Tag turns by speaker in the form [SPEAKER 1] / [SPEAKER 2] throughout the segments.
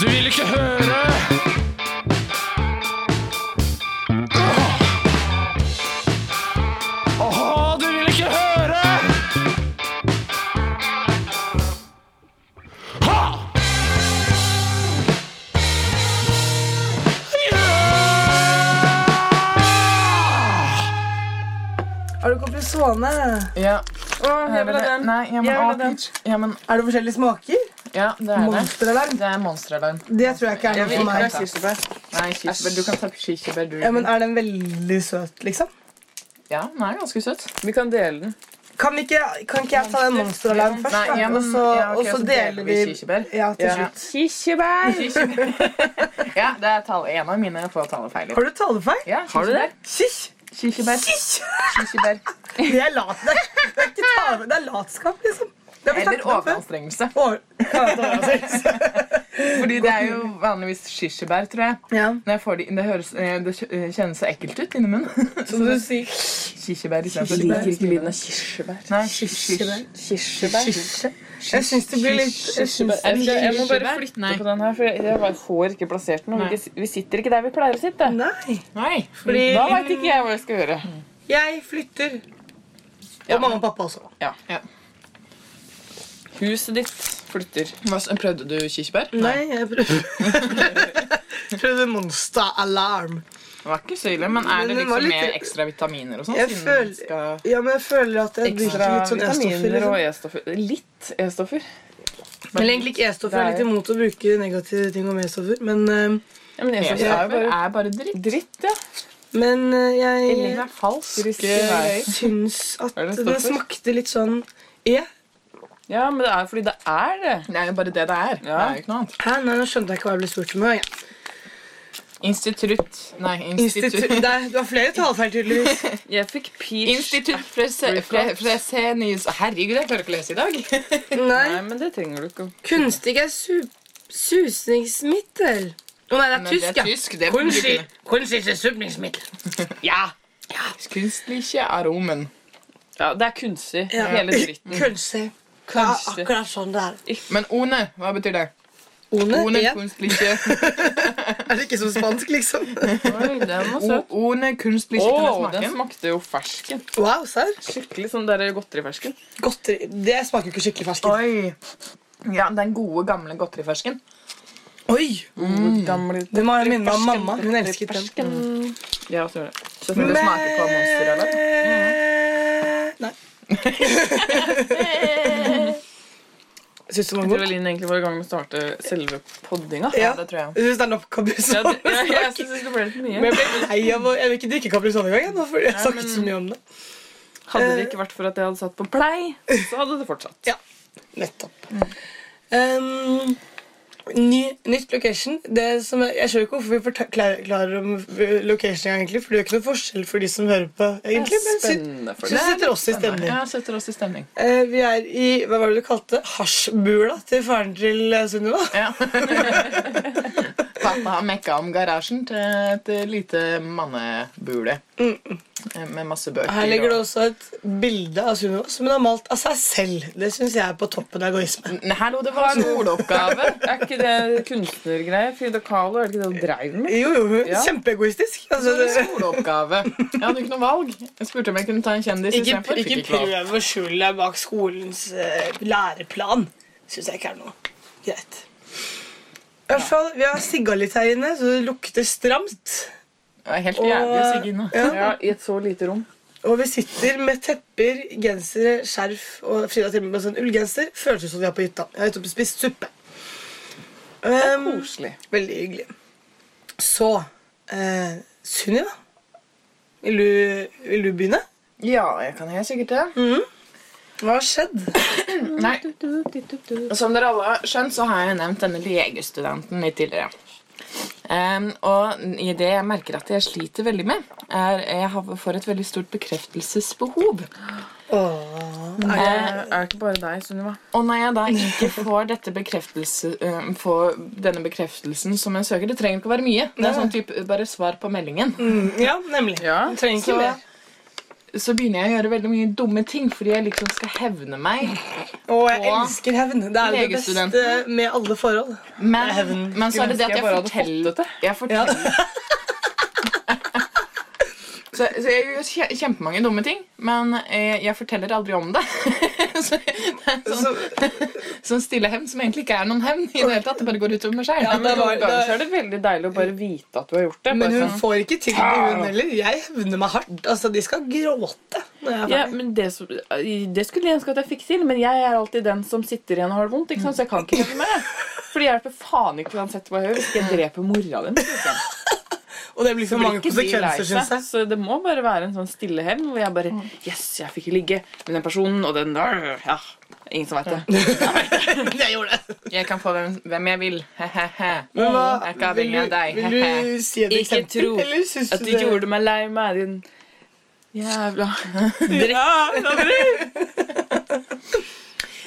[SPEAKER 1] vil ikke høre. Åh, Åh, du vil ikke høre. Ha! Ja!
[SPEAKER 2] Har du kompresone?
[SPEAKER 3] Ja,
[SPEAKER 4] Å, jeg vil ha den.
[SPEAKER 3] Nei, ja, men,
[SPEAKER 4] Jeg vil ha
[SPEAKER 3] ah,
[SPEAKER 4] den.
[SPEAKER 3] Peach. Ja, men,
[SPEAKER 2] Er det forskjellige smaker?
[SPEAKER 3] ja, det er det.
[SPEAKER 2] Monsteralarm?
[SPEAKER 3] Det er monsteralarm.
[SPEAKER 2] Det tror jeg ikke er
[SPEAKER 4] Jeg
[SPEAKER 2] noe
[SPEAKER 4] vil
[SPEAKER 2] for
[SPEAKER 4] ikke ha
[SPEAKER 2] meg.
[SPEAKER 4] kirsebær.
[SPEAKER 3] Nei, kirsebær. Du kan ta kirsebær, du.
[SPEAKER 2] Ja, men Er den veldig søt, liksom?
[SPEAKER 3] Ja, den er ganske søt.
[SPEAKER 4] Vi kan dele den.
[SPEAKER 2] Kan, vi ikke, kan ikke jeg ta den monsteralarm først,
[SPEAKER 3] Nei, ja,
[SPEAKER 2] da?
[SPEAKER 3] men-
[SPEAKER 2] Og så,
[SPEAKER 3] ja, ok,
[SPEAKER 2] og så deler vi
[SPEAKER 3] kirsebær.
[SPEAKER 2] Ja, til
[SPEAKER 4] Ja.
[SPEAKER 2] slutt.
[SPEAKER 4] Kirsebær!
[SPEAKER 3] Ja, det er tall, en av mine få talefeiler.
[SPEAKER 2] Har du talefeil?
[SPEAKER 3] Ja,
[SPEAKER 4] Har du det?
[SPEAKER 2] Kysj!
[SPEAKER 3] Kirsebær. kirsebær.
[SPEAKER 2] Det er lat. Det er, det er ikke tale, det er latskap, liksom. Det har vi
[SPEAKER 3] Eller
[SPEAKER 2] snakket om før.
[SPEAKER 3] overanstrengelse.
[SPEAKER 2] Over- Ja, det var det.
[SPEAKER 3] Fordi det er jo vanligvis kirsebær, tror jeg.
[SPEAKER 2] Ja.
[SPEAKER 3] Når jeg får de, det, høres, eh, det kj- eh, kjennes så ekkelt ut inni munnen.
[SPEAKER 4] Som du sier.
[SPEAKER 3] Kirsebær istedenfor.
[SPEAKER 4] Jeg liker ikke sånn. lyden av kirsebær.
[SPEAKER 3] Nei, kirsebær.
[SPEAKER 4] Kirsebær.
[SPEAKER 2] Jeg syns det blir litt jeg syns-
[SPEAKER 4] Jeg, skal, jeg må bare
[SPEAKER 3] Kirsebær?
[SPEAKER 4] flytte
[SPEAKER 3] Nei.
[SPEAKER 4] på den her, for jeg, jeg bare får ikke plassert den. og
[SPEAKER 3] Nei.
[SPEAKER 4] Vi, ikke- vi sitter ikke der vi pleier å sitte.
[SPEAKER 2] Nei.
[SPEAKER 3] Nei.
[SPEAKER 2] Fordi
[SPEAKER 4] Da veit ikke jeg hva jeg skal gjøre.
[SPEAKER 2] jeg flytter.
[SPEAKER 3] Ja.
[SPEAKER 2] Og mamma og pappa også.
[SPEAKER 4] Huset ditt flytter.
[SPEAKER 3] Hva s- Prøvde du kirsebær?
[SPEAKER 2] Nei, jeg prøvde Prøvde monsteralarm.
[SPEAKER 3] Det var ikke så ille, men er
[SPEAKER 2] Men
[SPEAKER 3] det
[SPEAKER 2] den var
[SPEAKER 3] liksom
[SPEAKER 2] litt-
[SPEAKER 3] med ekstra vitaminer og sånn?
[SPEAKER 2] Jeg
[SPEAKER 3] siden
[SPEAKER 2] føler-
[SPEAKER 3] den skal-
[SPEAKER 2] Ja, men jeg føler at jeg
[SPEAKER 4] Ekstra
[SPEAKER 2] drikker litt sånn E-stoffer.
[SPEAKER 4] vitaminer og
[SPEAKER 2] Liksom.
[SPEAKER 4] E-stoffer. Litt E-stoffer.
[SPEAKER 2] Eller egentlig ikke E-stoffer. Jeg er litt imot å bruke negative ting om E-stoffer. Men, eh,
[SPEAKER 4] Ja, men E-stoffer er jo
[SPEAKER 3] E-stoffer
[SPEAKER 4] bare
[SPEAKER 3] er bare dritt.
[SPEAKER 4] dritt, ja.
[SPEAKER 2] men eh,
[SPEAKER 3] Ingen
[SPEAKER 2] jeg eh,
[SPEAKER 3] er falsk. eh,
[SPEAKER 4] Griskevei.
[SPEAKER 2] syns at
[SPEAKER 4] Er det
[SPEAKER 2] den
[SPEAKER 4] stoffer?
[SPEAKER 2] smakte litt sånn E.
[SPEAKER 4] Ja, men det er fordi det er det.
[SPEAKER 3] Det er jo bare det det er. Det
[SPEAKER 4] Ja.
[SPEAKER 3] er jo ikke noe annet.
[SPEAKER 2] Hæ, nei, nå skjønte jeg ikke hva jeg ble spurt om. Ja.
[SPEAKER 3] Institutt Nei,
[SPEAKER 2] Institutt.
[SPEAKER 3] institutt.
[SPEAKER 2] Nei, du har flere talefeil, tydeligvis.
[SPEAKER 4] Jeg fikk peach.
[SPEAKER 3] Institutt Fresenys Herregud, jeg klarer ikke å lese i dag.
[SPEAKER 4] Nei,
[SPEAKER 2] Nei.
[SPEAKER 4] men det trenger du ikke.
[SPEAKER 2] Kunstig er su susningsmiddel. Å nei, det er
[SPEAKER 3] Men
[SPEAKER 2] tysk, ja.
[SPEAKER 3] tysk, det burde du
[SPEAKER 2] Kunstig,
[SPEAKER 3] kunne.
[SPEAKER 2] kunstig er susningsmiddel. Ja.
[SPEAKER 3] Kunstliche aromen.
[SPEAKER 4] Ja, Det er kunstig.
[SPEAKER 2] Ja.
[SPEAKER 4] Hele dritten.
[SPEAKER 2] Kunstig. Det er
[SPEAKER 4] Kunstig.
[SPEAKER 2] akkurat sånn det er.
[SPEAKER 3] Men one, hva betyr det?
[SPEAKER 2] One,
[SPEAKER 3] One
[SPEAKER 2] en.
[SPEAKER 3] kunstliche
[SPEAKER 2] Er det ikke som spansk, liksom?
[SPEAKER 4] Oi, den var søt.
[SPEAKER 3] O- One kunstliche
[SPEAKER 4] Åh,
[SPEAKER 3] kan jeg
[SPEAKER 4] den
[SPEAKER 3] smake.
[SPEAKER 4] smakte jo fersken.
[SPEAKER 2] Wow, serr.
[SPEAKER 4] Skikkelig sånn der godterifersken.
[SPEAKER 2] Godteri. Det smaker jo ikke skikkelig fersken.
[SPEAKER 3] Oi. Ja, den gode, gamle godterifersken.
[SPEAKER 2] Oi!
[SPEAKER 4] Gammel-
[SPEAKER 2] Det må jeg minne meg om
[SPEAKER 4] Fersken,
[SPEAKER 2] mamma. Hun elsket den.
[SPEAKER 4] fersken. Ja, så gjør det.
[SPEAKER 3] Men det smaker på monster, eller?
[SPEAKER 2] eller? Nei. Jeg syns det
[SPEAKER 4] Jeg
[SPEAKER 2] var
[SPEAKER 4] tror
[SPEAKER 2] godt.
[SPEAKER 4] Linn egentlig var i gang med å starte selve poddinga.
[SPEAKER 2] Ja.
[SPEAKER 3] det tror jeg.
[SPEAKER 2] Jeg syns det er nok Kabrizon.
[SPEAKER 4] Ja, det, ja, jeg synes det ble litt mye.
[SPEAKER 2] Men jeg ble lei av å Jeg vil ikke drikke Kabrizon engang. jeg, nå, fordi Jeg har sagt så mye om det.
[SPEAKER 4] Hadde det ikke vært for at jeg hadde satt på play, så hadde det fortsatt.
[SPEAKER 2] Nettopp. Um, ny, nytt location. Det som jeg, jeg skjønner ikke hvorfor vi fortel- klar- klarer om eh, location engang, egentlig. For det gjør ikke noe forskjell for de som hører på. egentlig Men jeg
[SPEAKER 4] Spennende for
[SPEAKER 2] syns det
[SPEAKER 4] deg.
[SPEAKER 2] setter oss i stemning.
[SPEAKER 3] Ja, setter oss i stemning.
[SPEAKER 2] Eh, vi er i hva var det du kalte det? hasjbula til faren til eh, Sunniva.
[SPEAKER 3] Ja. Pappa har mekka om garasjen til et lite mannebule Eh,
[SPEAKER 4] Mm.
[SPEAKER 3] med masse bøker.
[SPEAKER 2] Her ligger det
[SPEAKER 3] og-
[SPEAKER 2] også et bilde av Sunniva som hun har malt av seg selv. Det syns jeg er på toppen av egoisme.
[SPEAKER 3] Nei, Hallo, det var skoleoppgave.
[SPEAKER 4] Er ikke det kunstnergreier? Frida Kahlo, er det ikke det hun dreiv med?
[SPEAKER 2] Jo, jo, hun er
[SPEAKER 4] Ja.
[SPEAKER 2] kjempeegoistisk. Altså, det,
[SPEAKER 3] Skoleoppgave. Jeg hadde ikke noe valg. Jeg spurte om jeg kunne ta en kjendis
[SPEAKER 2] ikke,
[SPEAKER 3] istedenfor. Fikk
[SPEAKER 2] ikke
[SPEAKER 3] ikke lov.
[SPEAKER 2] prøv å skjule deg bak skolens eh, læreplan. Syns jeg ikke er noe greit. I hvert fall, Vi har sigga litt her inne, så det lukter stramt.
[SPEAKER 3] Det var helt jævlig å sigge inn nå.
[SPEAKER 4] Ja, I et så lite rom.
[SPEAKER 2] Og vi sitter med tepper, gensere, skjerf og Frida til og med med sånn ullgenser. Føles ut som de er på hytta. Jeg har nettopp spist suppe. Um,
[SPEAKER 4] Koselig.
[SPEAKER 2] veldig hyggelig. Så eh, Sunniva, vil, du- vil du begynne?
[SPEAKER 3] Ja, jeg kan helt sikkert det.
[SPEAKER 2] Hva har skjedd?
[SPEAKER 4] Mm,
[SPEAKER 3] Nei. Som dere alle har skjønt, så har jeg nevnt denne legestudenten litt tidligere. Ehm, og i det jeg merker at jeg sliter veldig med, er jeg har- får et veldig stort bekreftelsesbehov. Eh,
[SPEAKER 2] Åh.
[SPEAKER 4] Det er ikke bare deg, Sunniva.
[SPEAKER 3] Og når jeg da ikke får, dette bekreftelse, eh, får denne bekreftelsen som jeg søker Det trenger ikke å
[SPEAKER 4] Mm,
[SPEAKER 3] være mye. Det er sånn typ, bare svar på meldingen.
[SPEAKER 2] Ja, nemlig.
[SPEAKER 4] Ja.
[SPEAKER 2] Trenger
[SPEAKER 3] Så
[SPEAKER 2] ikke mer.
[SPEAKER 3] så begynner jeg å gjøre veldig mye dumme ting fordi jeg liksom skal hevne meg.
[SPEAKER 2] Og jeg
[SPEAKER 3] Og
[SPEAKER 2] elsker hevn. Det er jo det beste
[SPEAKER 3] legestudenten.
[SPEAKER 2] med alle forhold.
[SPEAKER 3] Men,
[SPEAKER 2] Hevn.
[SPEAKER 3] men så er det det at
[SPEAKER 4] Skulle ønske
[SPEAKER 3] jeg
[SPEAKER 4] jeg bare hadde fått
[SPEAKER 3] forteller,
[SPEAKER 4] det
[SPEAKER 3] jeg
[SPEAKER 2] Ja.
[SPEAKER 3] forteller så, så jeg gjør kje- kjempemange dumme ting, men eh, jeg forteller aldri om det. så det er en sånn, sånn stille hevn som egentlig ikke er noen hevn. i det hele tatt, Det bare går utover meg selv.
[SPEAKER 2] Ja, det var-
[SPEAKER 4] Noen ganger
[SPEAKER 2] det-
[SPEAKER 4] så er det veldig deilig å bare vite at du har gjort det.
[SPEAKER 2] Men
[SPEAKER 4] bare
[SPEAKER 2] hun
[SPEAKER 4] sånn.
[SPEAKER 2] får ikke til det, hun heller. Jeg hevner meg hardt. Altså, De skal gråte. når jeg er
[SPEAKER 4] ja,
[SPEAKER 2] ferdig.
[SPEAKER 4] men det, som- det skulle jeg ønske at jeg fikk til, men jeg er alltid den som sitter igjen og har det vondt. Ikke sant? Så jeg kan ikke gjøre mer. Fordi jeg hjelper faen ikke uansett hva jeg gjør. Hvis ikke jeg dreper mora di. liksom.
[SPEAKER 2] Og det blir så
[SPEAKER 4] blir
[SPEAKER 2] mange
[SPEAKER 4] ikke de lei
[SPEAKER 2] konsekvenser,
[SPEAKER 4] seg.
[SPEAKER 2] syns jeg.
[SPEAKER 4] Så det må bare være en sånn stille hevn hvor jeg bare Yes, jeg fikk ligge med den personen og den Ja. Ingen som veit det.
[SPEAKER 2] Men jeg gjorde det.
[SPEAKER 3] Jeg kan få hvem, hvem jeg vil. He-he-he.
[SPEAKER 2] Men hva,
[SPEAKER 3] Mm, Jeg er ikke
[SPEAKER 2] vil,
[SPEAKER 3] avhengig av
[SPEAKER 2] du,
[SPEAKER 3] deg.
[SPEAKER 2] vil du si et
[SPEAKER 4] Ikke
[SPEAKER 2] eksempel?
[SPEAKER 4] tro
[SPEAKER 2] eller syns
[SPEAKER 4] At du
[SPEAKER 2] det-
[SPEAKER 4] gjorde meg lei meg, din jævla dritt.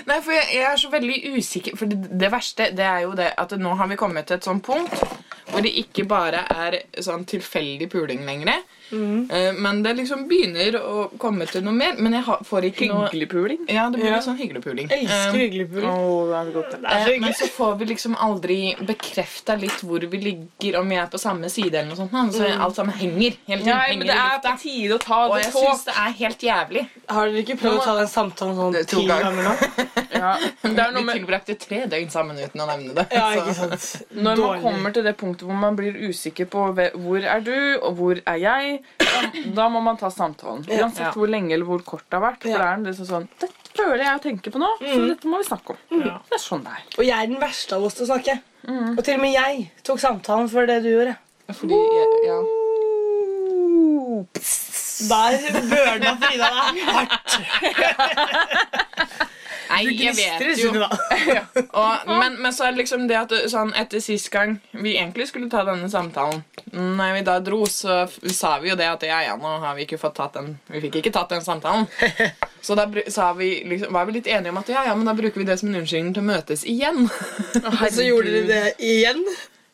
[SPEAKER 3] Nei, for jeg, jeg er så veldig usikker For det, det verste det er jo det at nå har vi kommet til et sånt punkt hvor det ikke bare er sånn tilfeldig puling lenger.
[SPEAKER 4] Mm.
[SPEAKER 3] eh, Men det liksom begynner å komme til noe mer. Men jeg har, får ikke noe
[SPEAKER 4] Hyggelig puling.
[SPEAKER 3] Ja, det blir
[SPEAKER 2] Ja.
[SPEAKER 3] litt sånn hyggelig puling.
[SPEAKER 2] Elsker
[SPEAKER 3] Eh,
[SPEAKER 2] hyggelig
[SPEAKER 4] Å,
[SPEAKER 2] puling.
[SPEAKER 4] det er så godt.
[SPEAKER 2] Det er så
[SPEAKER 3] eh, Men
[SPEAKER 2] hyggelig.
[SPEAKER 3] så får vi liksom aldri bekrefta litt hvor vi ligger, om vi er på samme side eller noe sånt. da. Så alt sammen henger. Hele tiden
[SPEAKER 4] Nei,
[SPEAKER 3] henger
[SPEAKER 4] men det
[SPEAKER 3] i
[SPEAKER 4] er
[SPEAKER 3] lufta.
[SPEAKER 4] på tide å ta
[SPEAKER 3] Og
[SPEAKER 4] det
[SPEAKER 3] jeg
[SPEAKER 4] tog.
[SPEAKER 3] syns det er helt jævlig.
[SPEAKER 2] Har dere ikke prøvd å ta den samtalen sånn
[SPEAKER 3] Det er to
[SPEAKER 2] ti
[SPEAKER 3] ganger.
[SPEAKER 2] ganger nå?
[SPEAKER 4] Ja. Det er
[SPEAKER 3] Vi
[SPEAKER 4] noe med
[SPEAKER 3] tilbrakte tre døgn sammen uten å nevne det.
[SPEAKER 2] Ja,
[SPEAKER 3] så-
[SPEAKER 2] ikke sant?
[SPEAKER 4] Når man
[SPEAKER 2] Dårlig.
[SPEAKER 4] kommer til det punktet hvor man blir usikker på ve- hvor er du, og hvor er jeg, da- da må man ta samtalen.
[SPEAKER 2] Ja.
[SPEAKER 4] Uansett hvor lenge eller hvor kort det har vært. For
[SPEAKER 2] Ja.
[SPEAKER 4] det er liksom sånn Dette føler jeg å tenke på nå, så dette må vi snakke om. Det er sånn det er.
[SPEAKER 2] Og jeg er den verste av oss til å snakke.
[SPEAKER 3] Mm.
[SPEAKER 2] Og til og med jeg tok samtalen for det du gjorde.
[SPEAKER 3] Fordi jeg, ja.
[SPEAKER 2] Der burna Frida deg hardt.
[SPEAKER 3] Nei,
[SPEAKER 2] Du
[SPEAKER 3] jeg
[SPEAKER 2] gnistrer,
[SPEAKER 3] vet jo.
[SPEAKER 2] Sunniva.
[SPEAKER 3] Og, men, men så er det liksom det at sånn, etter sist gang vi egentlig skulle ta denne samtalen Når vi da dro, så f- sa vi jo det at ja, ja, nå har vi ikke fått tatt den Vi fikk ikke tatt den samtalen. Så da bru- sa vi, liksom, var vi litt enige om at ja, ja, men da bruker vi det som en unnskyldning til å møtes igjen.
[SPEAKER 2] Og så gjorde dere det igjen.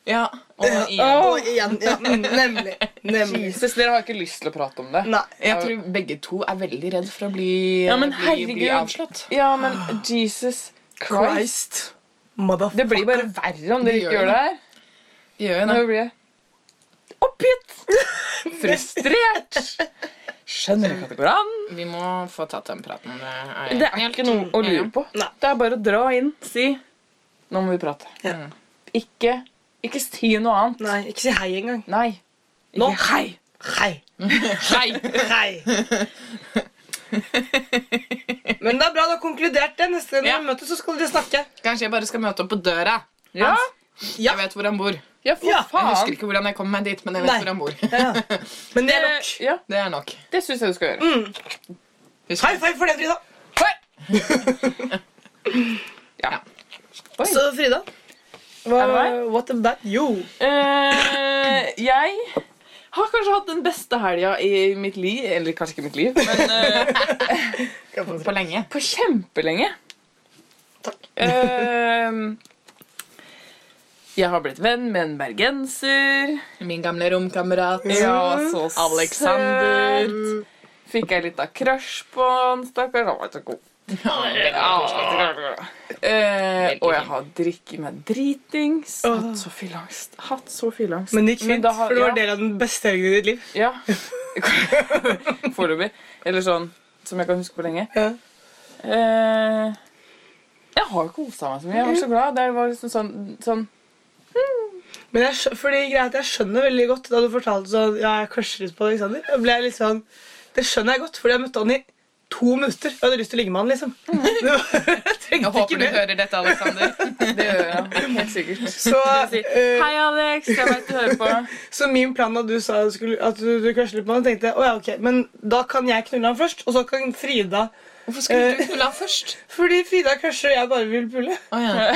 [SPEAKER 3] ja, og igjen.
[SPEAKER 2] Og igjen. Ja, mm, nemlig. nemlig.
[SPEAKER 4] Jesus, dere har ikke lyst til å prate om det.
[SPEAKER 2] Nei.
[SPEAKER 3] Jeg tror begge to er veldig redd for å bli,
[SPEAKER 4] Ja, men
[SPEAKER 3] bli, bli
[SPEAKER 4] herregud.
[SPEAKER 3] avslått.
[SPEAKER 4] Ja, men Jesus Christ.
[SPEAKER 2] Christ. Motherfucker.
[SPEAKER 4] Det blir bare verre om dere
[SPEAKER 3] Det
[SPEAKER 4] ikke
[SPEAKER 3] gjør
[SPEAKER 4] gjør det her.
[SPEAKER 3] De gjør jo det.
[SPEAKER 4] Nå blir jeg oppgitt. Frustrert. Skjønner ikke at det går an.
[SPEAKER 3] Vi må få tatt den praten. Det er, jeg
[SPEAKER 4] Det er
[SPEAKER 3] helt
[SPEAKER 4] ikke noe å lure
[SPEAKER 3] enig om.
[SPEAKER 4] på.
[SPEAKER 2] Nei.
[SPEAKER 4] Det er bare å dra inn, si 'Nå må vi prate'.
[SPEAKER 3] Mm.
[SPEAKER 2] Ja.
[SPEAKER 4] Ikke, ikke si noe annet.
[SPEAKER 2] Nei, ikke si hei engang.
[SPEAKER 4] Nei.
[SPEAKER 2] Nå?
[SPEAKER 4] Ikke hei.
[SPEAKER 2] Hei.
[SPEAKER 3] Hei!
[SPEAKER 2] Hei. Men det er bra du har konkludert det. Neste gang
[SPEAKER 3] Ja.
[SPEAKER 2] dere møtes, så skal dere snakke.
[SPEAKER 3] Kanskje jeg bare skal møte opp på døra.
[SPEAKER 4] Ja,
[SPEAKER 2] Ja.
[SPEAKER 3] Jeg vet hvor han bor.
[SPEAKER 4] ja for
[SPEAKER 2] Ja, jeg
[SPEAKER 3] Jeg husker
[SPEAKER 4] faen.
[SPEAKER 3] ikke hvordan jeg kom meg dit, men jeg vet
[SPEAKER 2] Nei.
[SPEAKER 3] hvor han bor.
[SPEAKER 2] Ja. Men det er
[SPEAKER 4] Eh,
[SPEAKER 2] nok. Mm.
[SPEAKER 4] Ja,
[SPEAKER 3] Det er nok.
[SPEAKER 4] det syns jeg du skal gjøre.
[SPEAKER 3] Husk-
[SPEAKER 2] High five for det, Frida.
[SPEAKER 4] Ja.
[SPEAKER 2] Så Frida,
[SPEAKER 4] Er det meg?
[SPEAKER 2] hva, what about you?
[SPEAKER 4] Eh, jeg har kanskje hatt den beste helga i mitt liv. Eller kanskje ikke mitt liv, men
[SPEAKER 3] På lenge.
[SPEAKER 4] på kjempelenge.
[SPEAKER 2] Takk.
[SPEAKER 4] Eh, jeg har blitt venn med en bergenser.
[SPEAKER 3] Min gamle romkamerat.
[SPEAKER 4] Ja, så
[SPEAKER 3] Alexander.
[SPEAKER 4] søt. Fikk jeg litt av crush på han, stakkars. Han var så god.
[SPEAKER 2] Ah.
[SPEAKER 4] Eh, og jeg har drikket meg dritings.
[SPEAKER 2] Åh.
[SPEAKER 4] Hatt så fylleangst. Hatt så fylleangst.
[SPEAKER 2] Ah. Men det gikk fint,
[SPEAKER 4] da har-
[SPEAKER 2] for det var
[SPEAKER 4] ja,
[SPEAKER 2] del av den beste helgen i ditt liv.
[SPEAKER 4] Ja. Foreløpig. Eller sånn som jeg kan huske på lenge.
[SPEAKER 2] Ja.
[SPEAKER 4] Eh, jeg har kosa meg så mye. Jeg var så glad. Det var liksom sånn, sånn
[SPEAKER 2] Men jeg, skjø- fordi greia er at jeg skjønner veldig godt da du fortalte sånn, ja, jeg crusher litt på Alexander. Jeg ble litt sånn, Det skjønner jeg godt, fordi jeg møtte han i to minutter. Jeg hadde lyst til å ligge med han, liksom.
[SPEAKER 4] Mhm.
[SPEAKER 2] Det var- Jeg
[SPEAKER 3] Jeg
[SPEAKER 2] trengte ikke
[SPEAKER 3] håper du
[SPEAKER 2] mer.
[SPEAKER 3] hører dette, Alexander.
[SPEAKER 4] Det gjør jeg helt sikkert.
[SPEAKER 2] Så, eh,
[SPEAKER 4] Hei, Alex. Jeg veit du hører på.
[SPEAKER 2] så min plan da du sa du skulle, at du, du crusher litt på han, tenkte jeg å ja, ok, men da kan jeg knulle han først, og så kan Frida
[SPEAKER 3] Hvorfor skulle du knulle han først?
[SPEAKER 2] Fordi Frida crusher, og jeg bare vil pulle.
[SPEAKER 3] Eh. Å ja.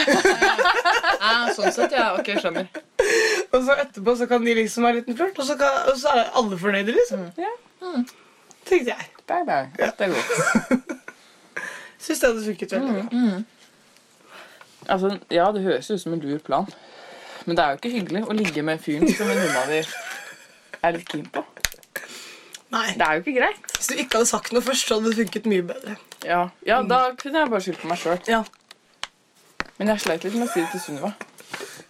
[SPEAKER 3] Ah, sånn sett, ja. Ok, skjønner.
[SPEAKER 2] Og så etterpå så kan de liksom ha en liten flørt, og, så kan- og så er alle fornøyde, liksom.
[SPEAKER 4] Ja.
[SPEAKER 2] Tenkte jeg.
[SPEAKER 4] Bye, bye. Alt er godt.
[SPEAKER 2] Syns det hadde funket veldig bra.
[SPEAKER 4] Altså, ja, det høres ut som en lur plan. Men det er jo ikke hyggelig å ligge med fyren som venninna di er litt keen på.
[SPEAKER 2] Nei.
[SPEAKER 4] Det er jo ikke greit.
[SPEAKER 2] Hvis du ikke hadde sagt noe først, så hadde det funket mye bedre.
[SPEAKER 4] Ja, ja da kunne jeg bare skyldt på meg sjøl.
[SPEAKER 2] Ja,
[SPEAKER 4] Men jeg sleit litt med å si det til Sunniva.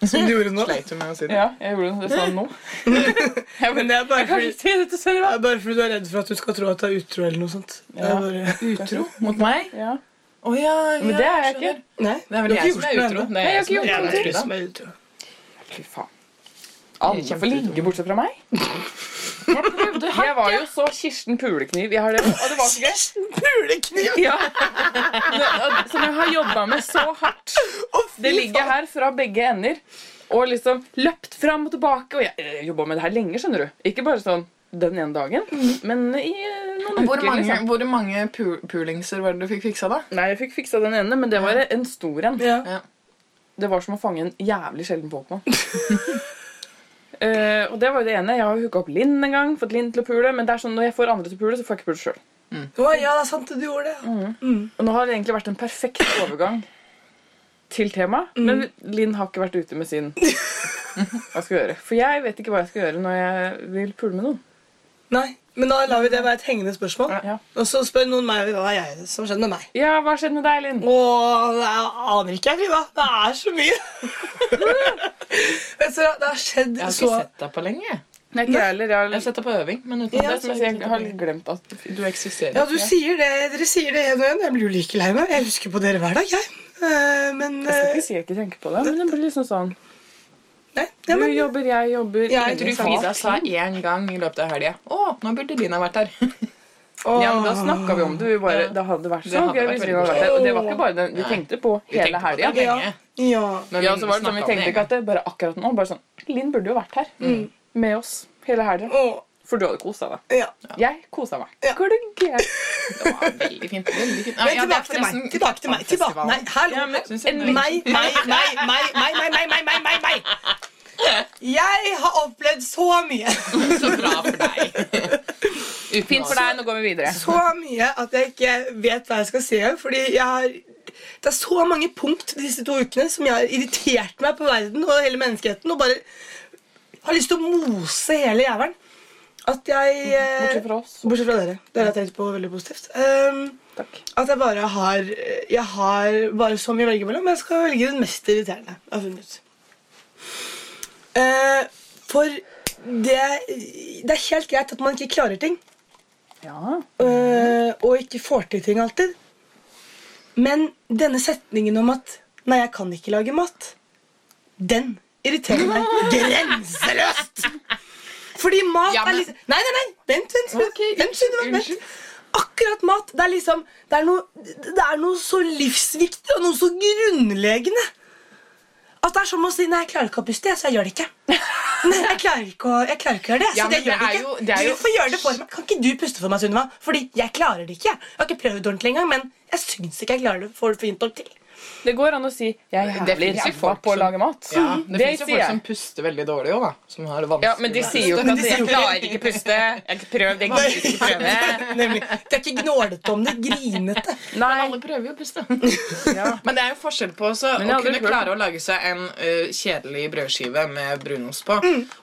[SPEAKER 2] Som du gjorde nå.
[SPEAKER 3] Sleit du med å si det?
[SPEAKER 4] Ja, jeg gjorde det. Jeg sa det nå.
[SPEAKER 2] Men det er bare
[SPEAKER 4] Kan
[SPEAKER 2] fordi,
[SPEAKER 4] ikke si det til Sunniva.
[SPEAKER 2] det er bare fordi du er redd for at du skal tro at det er utro eller noe sånt. Det er
[SPEAKER 4] Ja.
[SPEAKER 2] bare...
[SPEAKER 3] Utro mot meg?
[SPEAKER 4] Ja.
[SPEAKER 3] Å ja,
[SPEAKER 4] Men
[SPEAKER 3] ja,
[SPEAKER 4] det er jeg ikke.
[SPEAKER 3] skjønner.
[SPEAKER 2] Nei, du
[SPEAKER 3] Det er vel
[SPEAKER 2] har
[SPEAKER 3] jeg
[SPEAKER 2] ikke
[SPEAKER 3] som
[SPEAKER 2] gjort
[SPEAKER 3] er
[SPEAKER 2] noe
[SPEAKER 3] utro.
[SPEAKER 2] ennå.
[SPEAKER 3] Det er
[SPEAKER 4] Nei,
[SPEAKER 3] jeg som
[SPEAKER 4] jeg har
[SPEAKER 3] er
[SPEAKER 2] Jeg vet
[SPEAKER 3] utro.
[SPEAKER 4] ikke gjort noe til.
[SPEAKER 2] ikke som er utro.
[SPEAKER 4] Fy faen. Alle får ligge bortsett fra meg. Jeg var jo så Kirsten Pulekniv. Jeg har det, og det var så gøy.
[SPEAKER 2] Kirsten Pulekniv!
[SPEAKER 4] Ja. Nå- Som jeg har jobba med så hardt. Det ligger her fra begge ender. Og liksom løpt fram og tilbake. Og jeg jobba med det her lenge, skjønner du. Ikke bare sånn den ene dagen, men i eh, noen
[SPEAKER 3] Hvor
[SPEAKER 4] uker.
[SPEAKER 3] mange,
[SPEAKER 4] liksom.
[SPEAKER 3] hvor mange pu- pulingser var det du fikk fiksa, da?
[SPEAKER 4] Nei, jeg fikk fiksa den ene, men det var en stor en.
[SPEAKER 2] Ja.
[SPEAKER 3] Ja.
[SPEAKER 4] Det var som å fange en jævlig sjelden Pokémon. Eh, og det var jo det ene. Jeg har hooka opp Linn en gang. Fått Linn til å pule. Men det er sånn, når jeg får andre til å pule, så får jeg ikke pule sjøl.
[SPEAKER 2] Å, ja, det er sant du gjorde det.
[SPEAKER 4] Og nå har det egentlig vært en perfekt overgang til temaet. Men Linn har ikke vært ute med sin Hva skal jeg gjøre? For jeg vet ikke hva jeg skal gjøre når jeg vil pule med noen.
[SPEAKER 2] Nei, men da lar vi det være et hengende spørsmål.
[SPEAKER 4] Ja,
[SPEAKER 2] Og så spør noen meg hva er jeg som skjedde med meg.
[SPEAKER 4] ja hva har skjedd med deg, Linn?
[SPEAKER 2] Åh, jeg aner ikke, jeg, Frida. Det er så mye. Vet du hva, det har skjedd
[SPEAKER 3] Jeg har
[SPEAKER 2] så
[SPEAKER 3] ikke sett deg på lenge.
[SPEAKER 4] Nei, ikke jeg heller. Jeg
[SPEAKER 3] Jeg har
[SPEAKER 4] har,
[SPEAKER 3] sett deg på øving, men uten
[SPEAKER 2] Ja,
[SPEAKER 3] det så
[SPEAKER 4] men
[SPEAKER 3] har jeg
[SPEAKER 4] jeg
[SPEAKER 3] ikke
[SPEAKER 4] har
[SPEAKER 3] sett deg på-
[SPEAKER 4] glemt at
[SPEAKER 3] du eksisterer.
[SPEAKER 2] Ja, du
[SPEAKER 3] ikke.
[SPEAKER 2] sier det, dere sier det igjen og igjen. Jeg blir jo like lei meg. Jeg husker på dere hver dag, jeg. Eh, Men
[SPEAKER 4] Jeg skal
[SPEAKER 2] eh,
[SPEAKER 4] ikke si jeg ikke tenker på det, men det blir liksom sånn
[SPEAKER 2] Nei.
[SPEAKER 4] Du
[SPEAKER 2] Ja, men,
[SPEAKER 4] jobber, jeg jobber liksom.
[SPEAKER 2] Ja,
[SPEAKER 3] Jeg
[SPEAKER 4] ingen
[SPEAKER 3] tror
[SPEAKER 4] sa-
[SPEAKER 3] Frida sa én gang i løpet av helga 'Å, nå burde Lina vært her'.
[SPEAKER 2] Åh.
[SPEAKER 4] Ja, men da snakka vi om det. Vi bare,
[SPEAKER 3] Ja.
[SPEAKER 4] Det hadde vært
[SPEAKER 3] Det
[SPEAKER 4] så
[SPEAKER 3] hadde
[SPEAKER 4] gøy
[SPEAKER 3] vært
[SPEAKER 4] hvis
[SPEAKER 3] veldig
[SPEAKER 4] vi hadde vært
[SPEAKER 2] koselig.
[SPEAKER 4] der. Og det var ikke bare det. Vi tenkte på hele
[SPEAKER 3] tenkte på det.
[SPEAKER 4] helga.
[SPEAKER 2] ja.
[SPEAKER 3] lenge.
[SPEAKER 2] ja.
[SPEAKER 3] Men
[SPEAKER 4] Ja, så var det sånn, Vi
[SPEAKER 3] snakket om
[SPEAKER 4] tenkte
[SPEAKER 3] en
[SPEAKER 4] ikke
[SPEAKER 3] gang.
[SPEAKER 4] at det bare akkurat nå. bare sånn, Linn burde jo vært her med oss hele helga.
[SPEAKER 2] Åh,
[SPEAKER 4] For du hadde kosa deg.
[SPEAKER 2] ja.
[SPEAKER 4] Jeg kosa meg.
[SPEAKER 2] Ja.
[SPEAKER 4] Glugg.
[SPEAKER 3] Det var veldig fint. veldig fint. Nei,
[SPEAKER 2] Men
[SPEAKER 3] ja, det
[SPEAKER 2] tilbake
[SPEAKER 3] er
[SPEAKER 2] til meg.
[SPEAKER 3] forresten
[SPEAKER 2] Tilbake til meg. tilbake, Nei, hallo.
[SPEAKER 4] Ja, men-
[SPEAKER 2] Synes
[SPEAKER 4] en
[SPEAKER 2] jeg-
[SPEAKER 4] liten-
[SPEAKER 2] Meg, meg, meg, meg, meg, meg, meg, meg, meg, meg, meg. Jeg har opplevd så mye.
[SPEAKER 3] Så bra for deg. Uten
[SPEAKER 4] Fint for deg. Nå går vi videre.
[SPEAKER 2] Så mye at jeg ikke vet hva jeg skal si. Fordi jeg har Det er så mange punkt disse to ukene som jeg har irritert meg på verden og hele menneskeheten. Og bare har lyst til å mose hele jævelen. At jeg eh,
[SPEAKER 4] Mm, Bortsett fra oss.
[SPEAKER 2] Bortsett fra dere. Dere har jeg tenkt på veldig positivt. Ehm,
[SPEAKER 4] Takk.
[SPEAKER 2] at jeg bare har Jeg har bare så mye å velge mellom. men Jeg skal velge den mest irriterende jeg har funnet ut. Eh, for det, det er helt greit at man ikke klarer ting.
[SPEAKER 4] Ja.
[SPEAKER 2] Øh, og ikke får til ting alltid. Men denne setningen om at 'nei, jeg kan ikke lage mat', den irriterer meg grenseløst! Fordi mat
[SPEAKER 3] Ja, men-
[SPEAKER 2] er liksom Nei, nei, nei! Vent, vent. vent,
[SPEAKER 3] Ok,
[SPEAKER 2] vent,
[SPEAKER 3] unnskyld,
[SPEAKER 2] vent, vent.
[SPEAKER 3] unnskyld.
[SPEAKER 2] Akkurat mat. Det er liksom det er, noe, det er noe så livsviktig og noe så grunnleggende. At det er som å si 'nei, jeg klarer ikke å puste, jeg, så jeg gjør det ikke'. Nei, jeg klarer ikke å, jeg klarer ikke å gjøre det, så
[SPEAKER 3] Ja,
[SPEAKER 2] det
[SPEAKER 3] men
[SPEAKER 2] gjør
[SPEAKER 3] det
[SPEAKER 2] det
[SPEAKER 3] er
[SPEAKER 2] ikke.
[SPEAKER 3] jo- det er jo-
[SPEAKER 2] Du får gjøre det for meg. Kan ikke du puste for meg, Sunniva? Fordi jeg klarer det ikke. Jeg har ikke prøvd ordentlig engang, men jeg syns ikke jeg klarer det for fint nok til.
[SPEAKER 4] Det går an å si 'jeg er
[SPEAKER 3] Det
[SPEAKER 4] jævlig
[SPEAKER 3] finnes jo
[SPEAKER 4] ræva
[SPEAKER 3] folk
[SPEAKER 4] på å
[SPEAKER 3] som-
[SPEAKER 4] lage mat'.
[SPEAKER 3] Ja, det
[SPEAKER 4] det
[SPEAKER 3] finnes jo
[SPEAKER 4] sier
[SPEAKER 3] folk
[SPEAKER 4] jeg.
[SPEAKER 3] som puster veldig dårlig òg, da. Som har det vanskelig.
[SPEAKER 4] Ja, Men de sier jo ikke
[SPEAKER 2] Men
[SPEAKER 4] at
[SPEAKER 2] de sier jo ikke-
[SPEAKER 4] 'jeg klarer ikke puste', 'jeg prøv', det gidder ikke prøve'.
[SPEAKER 2] Nemlig. De er ikke gnålete om det, grinete.
[SPEAKER 4] Nei.
[SPEAKER 3] Alle prøver jo å puste.
[SPEAKER 4] Ja.
[SPEAKER 3] Men det er jo forskjell på også,
[SPEAKER 4] Men jeg
[SPEAKER 3] å
[SPEAKER 4] hadde
[SPEAKER 3] kunne
[SPEAKER 4] hørt-
[SPEAKER 3] klare å lage seg en ø, kjedelig brødskive med brunost på,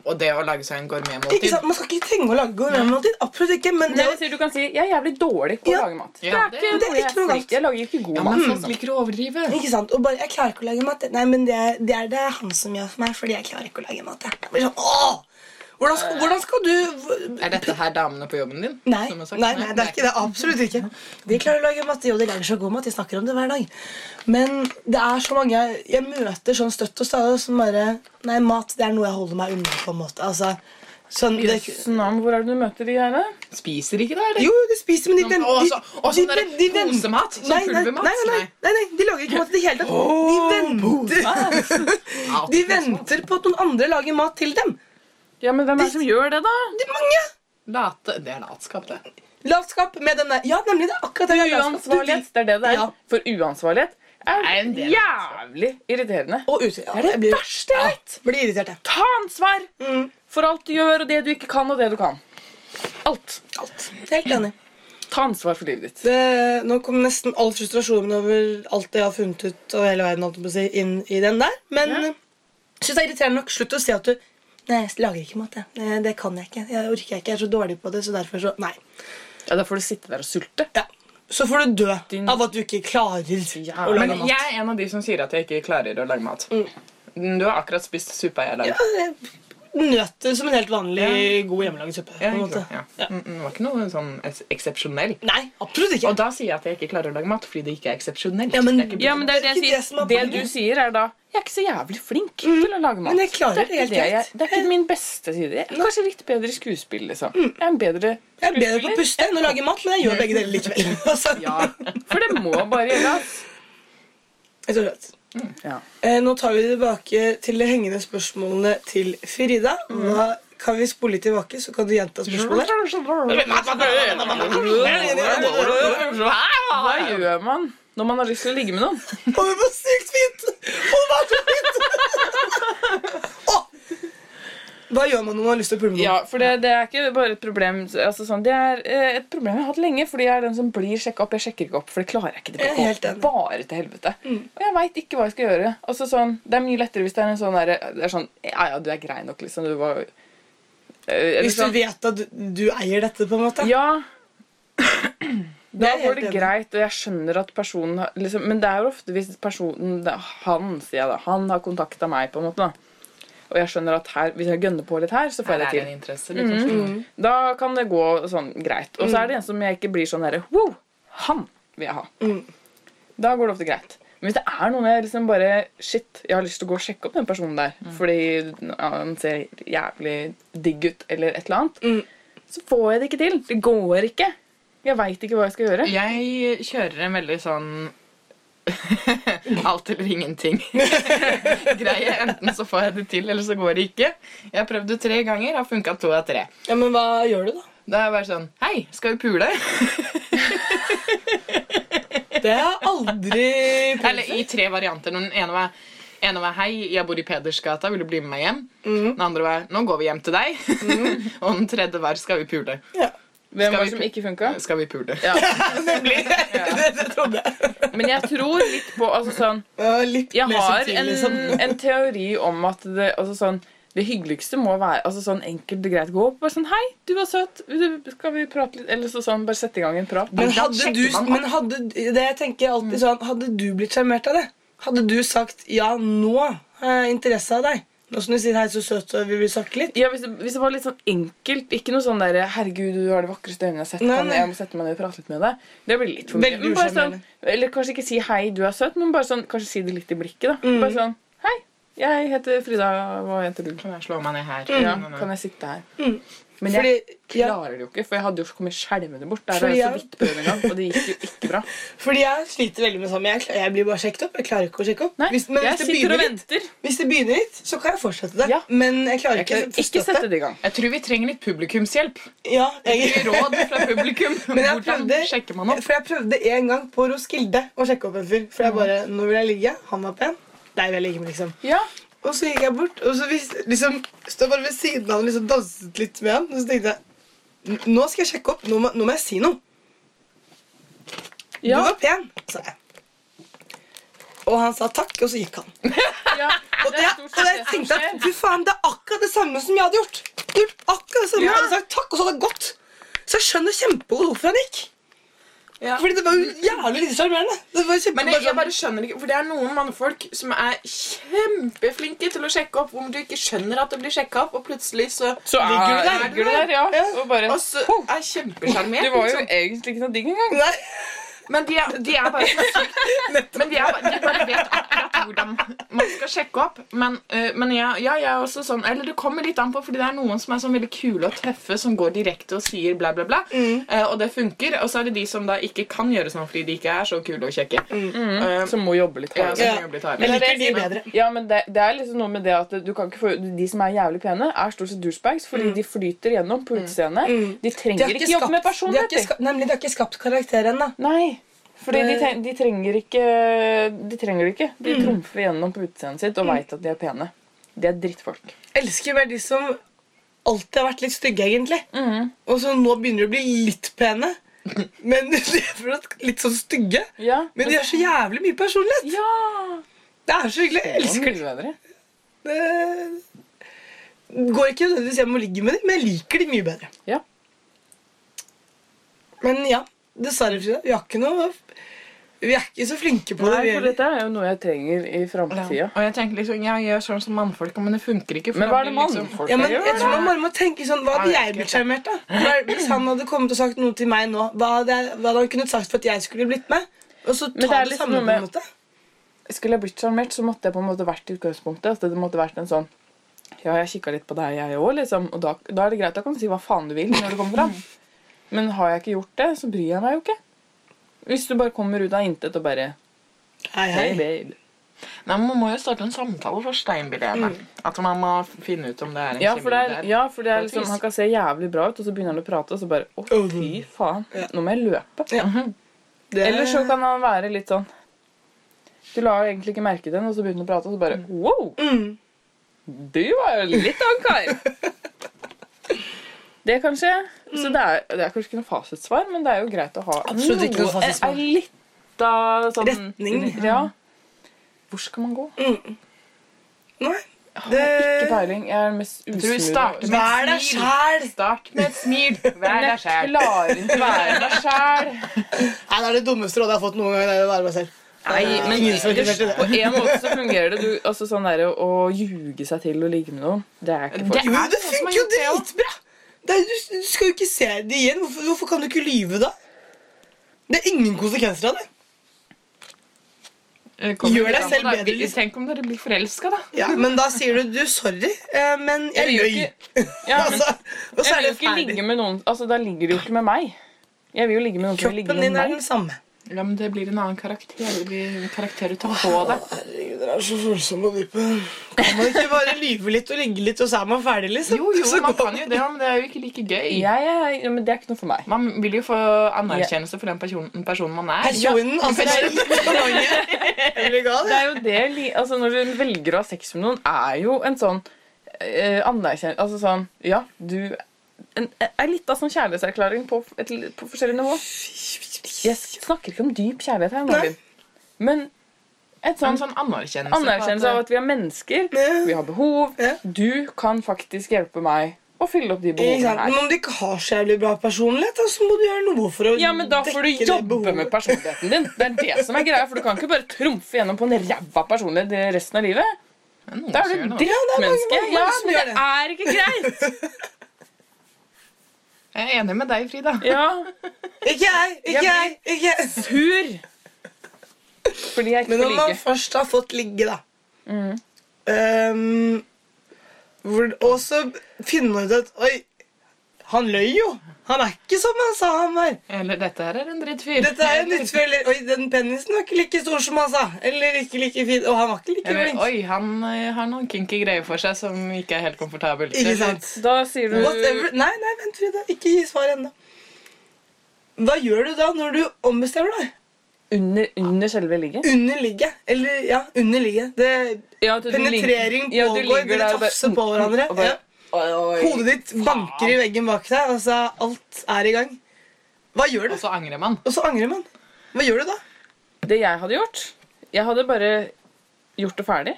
[SPEAKER 3] og det å lage seg en
[SPEAKER 2] Ikke
[SPEAKER 3] gourmetmåltid.
[SPEAKER 2] sant? Man skal ikke trenge å lage gourmetmåltid. Absolutt ikke. Men det,
[SPEAKER 4] Men jeg sier, du kan si 'jeg er jævlig dårlig på å
[SPEAKER 2] Ja.
[SPEAKER 4] lage mat'. Det
[SPEAKER 3] Ja,
[SPEAKER 4] er
[SPEAKER 3] det-
[SPEAKER 4] ikke
[SPEAKER 2] det er
[SPEAKER 4] noe jeg
[SPEAKER 2] ikke noe
[SPEAKER 4] er flink
[SPEAKER 2] galt.
[SPEAKER 4] til. Jeg lager ikke god
[SPEAKER 3] Ja,
[SPEAKER 4] mat.
[SPEAKER 3] men folk liker å overdrive.
[SPEAKER 2] ikke sant? Og bare 'jeg klarer ikke å lage mat'. Nei, men det, er- det er det han som gjør for meg, fordi jeg klarer ikke å lage mat. Jeg. Jeg blir sånn, åh! Hvordan skal, hvordan skal du
[SPEAKER 3] Er dette her damene på jobben din?
[SPEAKER 2] Nei,
[SPEAKER 3] som har sagt
[SPEAKER 2] nei, nei, det er ikke det. Absolutt ikke. De klarer å lage matte, og de lager så god mat. De snakker om det hver dag. Men det er så mange jeg, jeg møter sånn støtt og stadig som bare Nei, mat det er noe jeg holder meg unna, på en måte. Altså, sånn, det,
[SPEAKER 4] Jøss, navn, hvor er det du møter de her? da?
[SPEAKER 3] Spiser ikke det, eller?
[SPEAKER 2] jo, de spiser, men de
[SPEAKER 3] Sånn-
[SPEAKER 2] venter
[SPEAKER 3] og så- og sånn derre posemat, sånn
[SPEAKER 2] Nei, nei,
[SPEAKER 3] pulvermat,
[SPEAKER 2] nei, nei,
[SPEAKER 3] nei.
[SPEAKER 2] nei, nei, de lager ikke mat i det hele tatt. De venter,
[SPEAKER 3] Ja,
[SPEAKER 2] de venter på at noen andre lager mat til dem.
[SPEAKER 4] Ja, men hvem er det som gjør det, da?
[SPEAKER 2] De mange.
[SPEAKER 3] Late. Det er latskap, det.
[SPEAKER 2] Latskap med den der Ja, nemlig. Det er akkurat det. vi har latskap. Du-
[SPEAKER 4] Uansvarlighet, det er det det er.
[SPEAKER 2] Ja.
[SPEAKER 4] For uansvarlighet
[SPEAKER 3] Er
[SPEAKER 4] er
[SPEAKER 3] en del av
[SPEAKER 4] jævlig irriterende.
[SPEAKER 2] Og ute. Ja,
[SPEAKER 4] Det er
[SPEAKER 2] jeg
[SPEAKER 4] det
[SPEAKER 2] blir-
[SPEAKER 4] verste jeg vet!
[SPEAKER 2] Blir irritert, jeg.
[SPEAKER 4] Ta ansvar for alt du gjør, og det du ikke kan, og det du kan. Alt.
[SPEAKER 2] Alt. Helt enig.
[SPEAKER 4] Ta ansvar for livet ditt.
[SPEAKER 2] Det, nå kom nesten all frustrasjonen over alt det jeg har funnet ut, og hele verden, holdt jeg på å si, inn i den der. Men
[SPEAKER 4] Ja.
[SPEAKER 2] jeg synes det er irriterende nok. Slutt å si at du Nei, jeg lager ikke mat, jeg. Eh, Det kan jeg ikke. Jeg orker ikke. Jeg er så dårlig på det, så derfor så Nei.
[SPEAKER 4] Ja, Da får du sitte der og sulte.
[SPEAKER 2] Ja. Så får du dø
[SPEAKER 4] Din-
[SPEAKER 2] av at du ikke klarer
[SPEAKER 4] Ja,
[SPEAKER 2] å lage
[SPEAKER 3] Men
[SPEAKER 2] mat.
[SPEAKER 3] jeg er en av de som sier at jeg ikke klarer å lage mat.
[SPEAKER 2] Mm.
[SPEAKER 3] Du har akkurat spist suppa jeg lagde.
[SPEAKER 2] Nøtter som en helt vanlig god hjemmelaget suppe. på
[SPEAKER 3] Ja,
[SPEAKER 2] en
[SPEAKER 3] ikke
[SPEAKER 2] måte.
[SPEAKER 3] sant? ja.
[SPEAKER 2] Ja.
[SPEAKER 3] Mm, mm, Det var ikke noe sånn eks- eksepsjonell.
[SPEAKER 2] Nei, absolutt ikke.
[SPEAKER 3] Og da sier jeg at jeg ikke klarer å lage mat fordi det ikke er eksepsjonelt.
[SPEAKER 2] Ja, men-
[SPEAKER 3] Det er ikke bra.
[SPEAKER 4] Ja, men det er jo det
[SPEAKER 2] Ikke
[SPEAKER 4] jeg
[SPEAKER 2] det som
[SPEAKER 4] sier.
[SPEAKER 2] er
[SPEAKER 4] Det du
[SPEAKER 2] poenget. Mm.
[SPEAKER 4] sier, er da Jeg er ikke så jævlig flink til å lage mat.
[SPEAKER 2] Men jeg klarer
[SPEAKER 4] det,
[SPEAKER 2] det
[SPEAKER 4] er
[SPEAKER 2] helt
[SPEAKER 4] ikke det, jeg,
[SPEAKER 2] greit.
[SPEAKER 4] det er ikke min beste side. Jeg er kanskje litt bedre i skuespill, liksom. Jeg er en bedre
[SPEAKER 2] Mm. Jeg er bedre på å
[SPEAKER 4] skuespiller.
[SPEAKER 2] puste enn å lage mat, men jeg gjør begge deler likevel. Altså,
[SPEAKER 4] Ja, For det må bare gjøre ass.
[SPEAKER 2] jeg tror det.
[SPEAKER 4] Mm, Ja.
[SPEAKER 2] Eh, Nå tar vi det tilbake til de hengende spørsmålene til Frida.
[SPEAKER 4] Mm.
[SPEAKER 2] Da kan vi spole litt tilbake, så kan du gjenta spørsmålet.
[SPEAKER 4] Hva gjør man når man har lyst til å ligge med noen?
[SPEAKER 2] Og det var sykt fint! Og det var så fint! Åh! Hva gjør man når man har lyst til å pule med
[SPEAKER 4] Ja, for det, det er ikke bare et problem altså sånn, Det er eh, et problem jeg har hatt lenge, fordi jeg er den som blir sjekka opp. Jeg sjekker ikke opp, for det klarer jeg ikke. Det
[SPEAKER 2] Jeg er
[SPEAKER 4] går
[SPEAKER 2] helt enig. Mm.
[SPEAKER 4] bare til helvete. Og jeg veit ikke hva jeg skal gjøre. Altså sånn, Det er mye lettere hvis det er en sånn derre det er sånn, Ja, ja, du er grei nok, liksom. Du var Eh, eller
[SPEAKER 2] Hvis du
[SPEAKER 4] sånn,
[SPEAKER 2] vet at du, du eier dette, på en måte.
[SPEAKER 4] Ja. Da
[SPEAKER 2] er jeg
[SPEAKER 4] går
[SPEAKER 2] helt
[SPEAKER 4] det
[SPEAKER 2] enig.
[SPEAKER 4] greit, og jeg skjønner at personen har- liksom, Men det er jo ofte hvis personen det er Han, sier jeg da. Han har kontakta meg, på en måte. da Og jeg skjønner at her, hvis jeg gønner på litt her, så får
[SPEAKER 3] Her
[SPEAKER 4] jeg det
[SPEAKER 3] er det
[SPEAKER 4] til.
[SPEAKER 3] en interesse,
[SPEAKER 4] Mm.
[SPEAKER 3] liksom.
[SPEAKER 4] Da kan det gå sånn greit. Og så er det en som jeg ikke blir sånn derre Wow, han vil jeg ha. Da går det ofte greit. Men hvis det er noen jeg liksom bare Shit, jeg har lyst til å gå og sjekke opp den personen der fordi han ser jævlig digg ut, eller et eller annet, så får jeg det ikke til. Det går ikke. Jeg veit ikke hva jeg skal gjøre.
[SPEAKER 3] Jeg kjører en veldig sånn alt eller ingenting. Greie. Enten så får jeg det til, eller så går det ikke. Jeg har prøvd det tre ganger, har funka to av tre.
[SPEAKER 2] Ja, Men hva gjør du, da?
[SPEAKER 3] Da er jeg bare sånn Hei, skal vi pule?
[SPEAKER 2] Det har jeg aldri prøvd.
[SPEAKER 3] Eller i tre varianter. Den ene var, ene var Hei, jeg bor i Pedersgata, vil du bli med meg hjem?
[SPEAKER 2] Mm.
[SPEAKER 3] Den andre var Nå går vi hjem til deg. Og den tredje var Skal vi pule?
[SPEAKER 2] Ja.
[SPEAKER 4] Hvem
[SPEAKER 3] Skal
[SPEAKER 4] var
[SPEAKER 3] vi-
[SPEAKER 4] det som ikke funka?
[SPEAKER 3] Skal vi pule?
[SPEAKER 2] Nemlig. Det, det trodde jeg.
[SPEAKER 4] Men jeg tror litt på altså sånn
[SPEAKER 2] Ja, litt
[SPEAKER 4] Jeg
[SPEAKER 2] mer
[SPEAKER 4] har
[SPEAKER 2] subtil,
[SPEAKER 4] en,
[SPEAKER 2] liksom.
[SPEAKER 4] en teori om at det, altså sånn, det hyggeligste må være altså sånn enkelt og greit. Gå opp og bare sånn Hei, du var søt. Vil du- Skal vi prate litt? Eller så sånn, bare sette i gang en prat.
[SPEAKER 2] Men
[SPEAKER 3] da
[SPEAKER 2] hadde
[SPEAKER 3] sjekker
[SPEAKER 2] du,
[SPEAKER 3] man
[SPEAKER 2] men hadde, det jeg tenker alltid sånn, hadde du blitt sjarmert av det? Hadde du sagt 'ja, nå har jeg interesse av deg'? Nå som du sier 'hei, så søt, og vi vil snakke litt'?
[SPEAKER 4] Ja, hvis det, hvis det var litt sånn enkelt, ikke noe sånn der 'herregud, du har det vakreste øynene jeg har sett',
[SPEAKER 2] Nei,
[SPEAKER 4] kan
[SPEAKER 2] nei.
[SPEAKER 4] jeg må sette meg ned og prate litt med deg. Det blir litt for mye.
[SPEAKER 2] Veldig
[SPEAKER 4] Men bare sånn,
[SPEAKER 2] usjarmerende.
[SPEAKER 4] eller kanskje ikke si 'hei, du er søt', men bare sånn, kanskje si det litt i blikket. da.
[SPEAKER 2] Mm.
[SPEAKER 4] Bare sånn 'hei, jeg heter Frida, hva heter du?'
[SPEAKER 3] Kan jeg slå meg ned her?
[SPEAKER 4] Ja,
[SPEAKER 3] Nei, nei, nei.
[SPEAKER 4] kan jeg sitte her? Men jeg
[SPEAKER 2] Mm. Fordi, ja,
[SPEAKER 4] klarer det jo ikke, for jeg hadde jo kommet skjelvende bort. Der
[SPEAKER 2] Fordi
[SPEAKER 4] har jeg
[SPEAKER 2] jeg-
[SPEAKER 4] så vidt prøvd en gang, og det gikk jo ikke bra.
[SPEAKER 2] fordi jeg sliter veldig med det samme. Jeg, kla- jeg blir bare sjekket opp. Jeg klarer ikke å sjekke opp.
[SPEAKER 4] Nei,
[SPEAKER 2] hvis, men
[SPEAKER 4] jeg
[SPEAKER 2] hvis, det
[SPEAKER 4] sitter og
[SPEAKER 2] begynner litt,
[SPEAKER 4] venter.
[SPEAKER 2] hvis det begynner litt, så kan jeg fortsette det.
[SPEAKER 4] Ja.
[SPEAKER 2] Men jeg klarer
[SPEAKER 4] Jeg
[SPEAKER 2] ikke å
[SPEAKER 4] kan ikke
[SPEAKER 2] forstå
[SPEAKER 4] sette
[SPEAKER 2] det.
[SPEAKER 4] det i gang.
[SPEAKER 3] Jeg tror vi trenger litt publikumshjelp.
[SPEAKER 2] Ja, jeg,
[SPEAKER 3] Råd fra publikum.
[SPEAKER 2] Men jeg
[SPEAKER 3] Hvordan
[SPEAKER 2] prøvde-
[SPEAKER 3] sjekker man opp?
[SPEAKER 2] for jeg prøvde en gang på Roskilde å sjekke opp en fyr. For jeg bare 'Nå vil jeg ligge. Han var pen. Deg vil jeg ligge med', liksom.
[SPEAKER 4] Ja,
[SPEAKER 2] Og så gikk jeg bort, og så vis, liksom, stod jeg bare ved siden av han og liksom danset litt med han. Og så tenkte jeg "N- nå skal jeg sjekke opp. Nå må, nå må jeg si noe.
[SPEAKER 4] ja,
[SPEAKER 2] Du var pen, sa jeg. Og han sa takk, og så gikk han.
[SPEAKER 4] ja.
[SPEAKER 2] Og, det,
[SPEAKER 4] Det er stort
[SPEAKER 2] og jeg
[SPEAKER 4] sett det som
[SPEAKER 2] tenkte at
[SPEAKER 4] skjer.
[SPEAKER 2] fy faen, det er akkurat det samme som jeg hadde gjort. Jeg hadde gjort akkurat det samme. Jeg hadde sagt takk, og så hadde jeg gått. Så jeg skjønner kjempegodt hvorfor han gikk.
[SPEAKER 3] Ja.
[SPEAKER 2] Fordi det var jo jævlig lite sjarmerende. Det var kjempe-
[SPEAKER 3] Men jeg,
[SPEAKER 2] bare
[SPEAKER 3] jeg
[SPEAKER 2] sånn-
[SPEAKER 3] bare skjønner ikke, for Det er noen mannfolk som er kjempeflinke til å sjekke opp om du ikke skjønner at det blir sjekka opp, og plutselig så,
[SPEAKER 4] Så er,
[SPEAKER 3] ligger du der.
[SPEAKER 4] ligger du der, ja.
[SPEAKER 2] Ja.
[SPEAKER 4] Og bare
[SPEAKER 3] Og så er kjempesjarmert.
[SPEAKER 4] Du var jo
[SPEAKER 3] liksom.
[SPEAKER 4] egentlig ikke noe digg engang.
[SPEAKER 2] Nei,
[SPEAKER 3] Men de er, de er bare så sykt Men de, er, bare- de bare vet akkurat hvordan man skal sjekke opp. Men, eh, men ja, ja, jeg er også sånn Eller det kommer litt an på, fordi det er noen som er sånn veldig kule og tøffe, som går direkte og sier bla, bla, bla.
[SPEAKER 4] Mm.
[SPEAKER 3] Eh, og det funker. Og så er det de som da ikke kan gjøre sånn fordi de ikke er så kule og kjekke.
[SPEAKER 4] Mm.
[SPEAKER 3] Eh,
[SPEAKER 4] Som må jobbe litt
[SPEAKER 3] ja,
[SPEAKER 4] hardere.
[SPEAKER 3] så
[SPEAKER 2] Ja.
[SPEAKER 3] kan jeg bli tar.
[SPEAKER 2] jeg
[SPEAKER 4] det
[SPEAKER 2] liker de
[SPEAKER 4] jeg
[SPEAKER 2] bedre.
[SPEAKER 4] Ja, men det, det er liksom noe med det at du kan ikke få, De som er jævlig pene, er stort sett douchebags fordi de flyter gjennom på utseendet. De
[SPEAKER 2] Mm. De
[SPEAKER 4] trenger
[SPEAKER 2] har
[SPEAKER 4] ikke,
[SPEAKER 2] ikke skapt-
[SPEAKER 4] jobbe med
[SPEAKER 2] de har
[SPEAKER 4] personlighet.
[SPEAKER 2] ikke
[SPEAKER 4] de.
[SPEAKER 2] skapt- nemlig, de har ikke skapt karakteren, da.
[SPEAKER 4] Nei. Fordi de, ten- de trenger ikke De trenger det ikke.
[SPEAKER 2] Mm.
[SPEAKER 4] De trumfer gjennom på utseendet sitt og vet veit at de er pene. De er drittfolk.
[SPEAKER 2] elsker mer de som alltid har vært litt stygge, egentlig. Og så nå begynner de å bli litt pene, men de er fortsatt litt sånn stygge.
[SPEAKER 4] Ja.
[SPEAKER 2] Men de har så jævlig mye personlighet.
[SPEAKER 4] ja.
[SPEAKER 2] Det er så hyggelig. Jeg elsker
[SPEAKER 4] det.
[SPEAKER 2] det. går ikke nødvendigvis hjem og ligger med dem, men jeg liker de mye bedre.
[SPEAKER 4] Ja.
[SPEAKER 2] Men ja, dessverre, Frida. Vi har ikke noe Vi er ikke så flinke på det.
[SPEAKER 4] Nei,
[SPEAKER 2] vi
[SPEAKER 4] for
[SPEAKER 2] heller.
[SPEAKER 4] dette er jo noe jeg trenger i framtida.
[SPEAKER 3] Og jeg tenker liksom, jeg gjør sånn som mannfolka, men det funker ikke. for
[SPEAKER 4] Men
[SPEAKER 3] da
[SPEAKER 4] hva er det
[SPEAKER 3] blir liksom-
[SPEAKER 4] mannfolk
[SPEAKER 2] Ja, men
[SPEAKER 4] gjør?
[SPEAKER 2] jeg tror man bare må tenke sånn Hva hadde
[SPEAKER 3] Nei,
[SPEAKER 2] jeg
[SPEAKER 3] jeg
[SPEAKER 2] blitt sjarmert av? Hva- Hvis han hadde kommet og sagt noe til meg nå, hva hadde, jeg, hva hadde han kunnet sagt for at jeg skulle blitt med? Og så
[SPEAKER 4] det
[SPEAKER 2] ta
[SPEAKER 4] er
[SPEAKER 2] det,
[SPEAKER 4] liksom
[SPEAKER 2] samme,
[SPEAKER 4] noe
[SPEAKER 2] på
[SPEAKER 4] med-
[SPEAKER 2] en måte.
[SPEAKER 4] Skulle jeg blitt sjarmert, så måtte jeg på en måte vært i utgangspunktet. Altså, det måtte vært en sånn Ja, jeg kikka litt på deg, jeg òg, liksom. Og da, da er det greit. Da kan du si hva faen du vil når du kommer fram. Men har jeg ikke gjort det, så bryr jeg meg jo ikke. Hvis du bare kommer ut av intet og bare
[SPEAKER 2] Hei, hei.
[SPEAKER 4] Hei, babe.
[SPEAKER 3] Nei, men Man må jo starte en samtale først, da, innbiller jeg meg. At man må finne ut om det er en
[SPEAKER 4] Mm. Ja,
[SPEAKER 3] kjemi
[SPEAKER 4] for det er,
[SPEAKER 3] der.
[SPEAKER 4] ja, for det
[SPEAKER 3] På
[SPEAKER 4] er
[SPEAKER 3] et
[SPEAKER 4] liksom
[SPEAKER 3] vis.
[SPEAKER 4] Han kan se jævlig bra ut, og så begynner han å prate, og så bare Å,
[SPEAKER 2] Åh.
[SPEAKER 4] fy faen. Nå må jeg løpe.
[SPEAKER 2] Ja. Det,
[SPEAKER 4] Eller så kan han være litt sånn Du la jo egentlig ikke merke til den, og så begynte han å prate, og så bare Wow!
[SPEAKER 2] Mm.
[SPEAKER 4] Du var jo litt av en kar! Det kan skje. Så det er, det er kanskje ikke noe fasitsvar, men det er jo greit å ha eh,
[SPEAKER 2] Absolutt ikke noe fasitsvar.
[SPEAKER 4] En lita sånn
[SPEAKER 2] Retning.
[SPEAKER 4] Ja. Hvor skal man gå?
[SPEAKER 2] Nei. Det,
[SPEAKER 4] Ikke peiling. Jeg er den mest
[SPEAKER 3] Jeg tror vi starter
[SPEAKER 4] usmule
[SPEAKER 2] vær deg sjæl!
[SPEAKER 3] Start med et smil. Vær
[SPEAKER 4] Men
[SPEAKER 3] deg
[SPEAKER 4] jeg
[SPEAKER 3] sjæl.
[SPEAKER 4] klarer ikke å være meg sjæl.
[SPEAKER 2] Nei, Det er det dummeste rådet jeg har fått noen gang. Det er å være meg selv.
[SPEAKER 4] Nei, men
[SPEAKER 2] Ingen som er
[SPEAKER 4] det,
[SPEAKER 2] interessert i det.
[SPEAKER 4] på en måte så fungerer det. Du, altså sånn der, å, å ljuge seg til å ligge med noen, det er ikke for
[SPEAKER 3] Det
[SPEAKER 2] Jo,
[SPEAKER 3] er
[SPEAKER 2] det
[SPEAKER 3] noen som har
[SPEAKER 2] funker jo
[SPEAKER 3] gjort det også.
[SPEAKER 2] dritbra! Det er, du, du skal jo ikke se det igjen. Hvorfor, hvorfor kan du ikke lyve da? Det er ingen konsekvenser av det.
[SPEAKER 3] Det Eh, kommer
[SPEAKER 2] Gjør
[SPEAKER 3] litt
[SPEAKER 2] deg
[SPEAKER 3] an på
[SPEAKER 2] selv
[SPEAKER 3] deg.
[SPEAKER 2] bedre, liksom.
[SPEAKER 3] Tenk om dere blir forelska, da.
[SPEAKER 2] Ja, Men da sier du du, sorry, eh, men jeg
[SPEAKER 4] vil jo
[SPEAKER 2] løy.
[SPEAKER 4] Ja, men
[SPEAKER 2] Altså, og så
[SPEAKER 4] jeg
[SPEAKER 2] er
[SPEAKER 4] vil
[SPEAKER 2] det
[SPEAKER 4] jo ikke
[SPEAKER 2] ferdig.
[SPEAKER 4] ligge med noen Altså, da ligger du jo ikke med meg. Jeg vil jo ligge med noen som vil ligge
[SPEAKER 2] Kroppen
[SPEAKER 4] med
[SPEAKER 2] din er
[SPEAKER 4] meg.
[SPEAKER 2] den samme.
[SPEAKER 3] Ja, men Det blir en annen karakter. Det blir en karakter du tar på deg.
[SPEAKER 2] Herregud, dere er så følsomme og dype. Kan man ikke bare lyve litt og ligge litt, og så er man ferdig, liksom?
[SPEAKER 3] Jo, jo,
[SPEAKER 2] så
[SPEAKER 3] man
[SPEAKER 2] går
[SPEAKER 3] kan jo det, men det er jo ikke like gøy.
[SPEAKER 4] Jeg er, ja, men det er ikke noe for meg.
[SPEAKER 3] Man vil jo få anerkjennelse for den personen, personen man er.
[SPEAKER 2] Personen, altså komplimentet. Er du gal,
[SPEAKER 4] Det
[SPEAKER 2] ja?
[SPEAKER 4] er jo det li- Altså, når du velger å ha sex med noen, er jo en sånn eh, anerkjennelse Altså sånn Ja, du en, er litt av sånn kjærlighetserklæring på, et, på forskjellig nivå. Jeg snakker ikke om dyp kjærlighet her, Marvin. Men et
[SPEAKER 3] En
[SPEAKER 4] sånn
[SPEAKER 3] sånn anerkjennelse. på
[SPEAKER 4] Anerkjennelse av
[SPEAKER 3] at-
[SPEAKER 4] at vi er mennesker,
[SPEAKER 2] Altså, Ja.
[SPEAKER 4] vi har behov.
[SPEAKER 2] Ja.
[SPEAKER 4] Du kan faktisk hjelpe meg å fylle opp de
[SPEAKER 2] Ikke sant?
[SPEAKER 4] behovene
[SPEAKER 2] Men
[SPEAKER 4] her.
[SPEAKER 2] om du ikke har så jævlig bra personlighet, da, så må du gjøre noe for å
[SPEAKER 4] Ja, men Da får du
[SPEAKER 2] dekke det
[SPEAKER 4] jobbe
[SPEAKER 2] behovet.
[SPEAKER 4] med personligheten din. Det er det som er greia, for Du kan ikke bare trumfe gjennom på en ræva personlighet det resten av livet.
[SPEAKER 3] Det er noen
[SPEAKER 4] Da
[SPEAKER 3] som
[SPEAKER 4] er du
[SPEAKER 3] gjør
[SPEAKER 4] et
[SPEAKER 3] det, da.
[SPEAKER 4] drittmenneske.
[SPEAKER 2] mange
[SPEAKER 4] Ja,
[SPEAKER 2] som
[SPEAKER 4] men
[SPEAKER 2] gjør
[SPEAKER 4] det er ikke greit.
[SPEAKER 3] Jeg er enig med deg, Frida.
[SPEAKER 4] Ja,
[SPEAKER 2] Ikke jeg! Ikke jeg!
[SPEAKER 4] Jeg
[SPEAKER 2] ikke jeg.
[SPEAKER 4] Tur. Fordi jeg ikke
[SPEAKER 2] Men
[SPEAKER 4] får
[SPEAKER 2] når man
[SPEAKER 4] ligge.
[SPEAKER 2] først har fått ligge, da
[SPEAKER 3] Mm.
[SPEAKER 2] ehm, hvor, Og så finner man ut at Oi, han løy jo! Han er ikke som han sa han var.
[SPEAKER 3] Eller dette her er en drittfyr.
[SPEAKER 2] Dette er jo nytt for eller, Oi, den penisen var ikke like stor som han sa. Eller ikke like fin. Og han var ikke like
[SPEAKER 3] Eller
[SPEAKER 2] flink.
[SPEAKER 3] oi, han eh, har noen kinky greier for seg som ikke er helt komfortabel.
[SPEAKER 2] Ikke sant?
[SPEAKER 4] Da sier du
[SPEAKER 2] Whatever. Nei, nei, vent, Frida. Ikke gi svar ennå. Hva gjør du da når du ombestemmer deg?
[SPEAKER 4] under, under selve ligget.
[SPEAKER 2] Under ligget. Eller ja, under ligget. Det,
[SPEAKER 4] Ja, at du- du ligger-
[SPEAKER 2] Penetrering
[SPEAKER 4] ja, du
[SPEAKER 2] pågår, dere
[SPEAKER 4] ligger der og bare- mm,
[SPEAKER 2] tafser på hverandre.
[SPEAKER 4] og bare-
[SPEAKER 2] Ja.
[SPEAKER 4] Oi, oi.
[SPEAKER 2] hodet ditt banker i veggen bak deg. Altså, alt er i gang. Hva gjør
[SPEAKER 3] Og
[SPEAKER 2] du?
[SPEAKER 3] så angrer man.
[SPEAKER 2] Og så angrer man. Hva gjør du da?
[SPEAKER 4] Det jeg hadde gjort Jeg hadde bare gjort det ferdig.